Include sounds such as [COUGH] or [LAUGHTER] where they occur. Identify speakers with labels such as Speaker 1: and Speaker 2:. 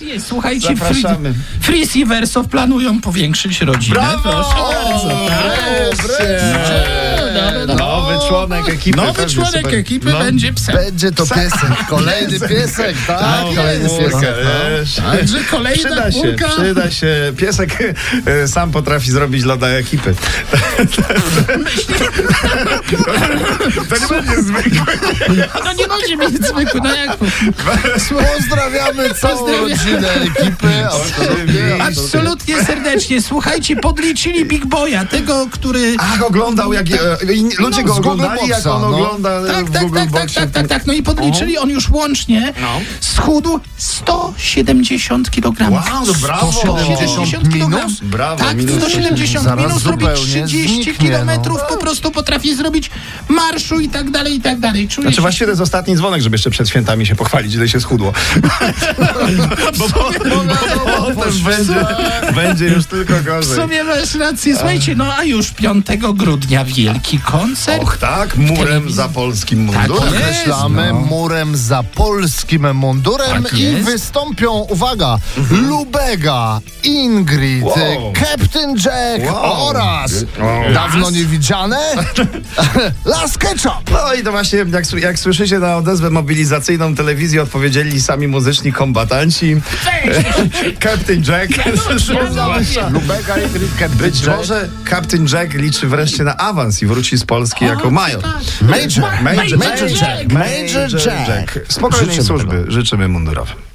Speaker 1: Jest, Słuchajcie,
Speaker 2: Zapraszamy.
Speaker 1: Fris i Verso planują powiększyć rodzinę. Proszę bardzo. tak?
Speaker 2: Wreszcie!
Speaker 1: No,
Speaker 2: Nowy członek ekipy.
Speaker 1: Nowy
Speaker 2: pewnie,
Speaker 1: członek
Speaker 2: super.
Speaker 1: ekipy
Speaker 2: No,
Speaker 1: będzie psem.
Speaker 3: Będzie to piesek, kolejny piesek, tak?
Speaker 2: no,
Speaker 3: kolejny
Speaker 2: kurka,
Speaker 3: piesek. No.
Speaker 2: wiesz.
Speaker 1: Także kolejna
Speaker 2: Przyda się,
Speaker 1: kulka.
Speaker 2: przyda się. Piesek e, sam potrafi zrobić dla ekipy. To nie będzie zwykły.
Speaker 1: No nie będzie mieć zwykły, no
Speaker 2: [LAUGHS]
Speaker 1: jak
Speaker 3: Pozdrawiamy całą
Speaker 1: Pozdrawiam.
Speaker 3: rodzinę ekipy. O, to lubię, a to-
Speaker 1: Absolutnie serdecznie. Słuchajcie, podliczyli Big Boya, tego, który...
Speaker 2: Ach, oglądał, jak e, inni- ludzie
Speaker 3: No,
Speaker 2: go
Speaker 3: z Google
Speaker 2: oglądali, jak
Speaker 3: Boxa,
Speaker 2: on
Speaker 3: no.
Speaker 2: ogląda e,
Speaker 1: Tak,
Speaker 2: w
Speaker 1: tak,
Speaker 2: Google No.
Speaker 1: tak, tak,
Speaker 2: Boxie.
Speaker 1: tak, tak, tak. No i podliczyli, on już łącznie schudł 170 kg.
Speaker 2: Wow, no brawo.
Speaker 3: 170
Speaker 1: kilogramów.
Speaker 3: minus?
Speaker 2: Brawo,
Speaker 1: Tak,
Speaker 2: minus
Speaker 1: 170
Speaker 3: Zaraz
Speaker 1: minus robi
Speaker 3: zupełnie
Speaker 1: 30
Speaker 3: zniknie,
Speaker 1: kilometrów,
Speaker 2: no.
Speaker 1: po prostu potrafi zrobić marszu i tak dalej, i tak dalej. Czuję
Speaker 2: Znaczy
Speaker 1: się...
Speaker 2: właściwie to jest ostatni dzwonek, żeby jeszcze przed świętami się pochwalić, ile się schudło. bo po, bo potem będzie, będzie już tylko
Speaker 1: W
Speaker 2: gorzej.
Speaker 1: sumie masz rację, słuchajcie, no a już 5 grudnia wielki koncert.
Speaker 2: Och tak, murem za polskim
Speaker 3: Tak.
Speaker 2: mundurem.
Speaker 3: Określamy murem za polskim mundurem
Speaker 1: Tak
Speaker 3: i
Speaker 1: jest.
Speaker 3: wystąpią, uwaga, Lubega, Ingrid,
Speaker 2: Wow.
Speaker 3: Captain Jack
Speaker 2: Wow.
Speaker 3: oraz
Speaker 2: Wow.
Speaker 3: dawno niewidziane [LAUGHS] Las Ketchup.
Speaker 2: No i to właśnie, jak, sły- jak słyszycie na odezwę mobilizacyjną telewizji, odpowiedzieli sami muzyczni kombatanci. [LAUGHS] Captain Jack.
Speaker 3: Lubega, Ingrid, Captain
Speaker 2: Być może Captain Jack liczy wreszcie na awans i wróci z Polski jako major.
Speaker 3: tak. Major,
Speaker 2: Major,
Speaker 3: Major Jack. Major Jack.
Speaker 2: Spokojnej
Speaker 3: Życzymy
Speaker 2: służby życzymy mundurowym.